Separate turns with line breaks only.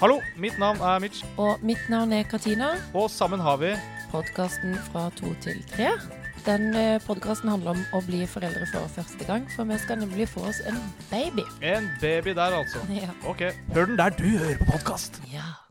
Hallo, mitt navn er Mitch,
Og mitt navn er Katina,
og sammen har vi
podkasten fra to til tre. Den podkasten handler om å bli foreldre for første gang, for vi skal nemlig få oss en baby.
en baby der, altså.
Ja.
Ok. Hør den der du hører på podkast.
ja.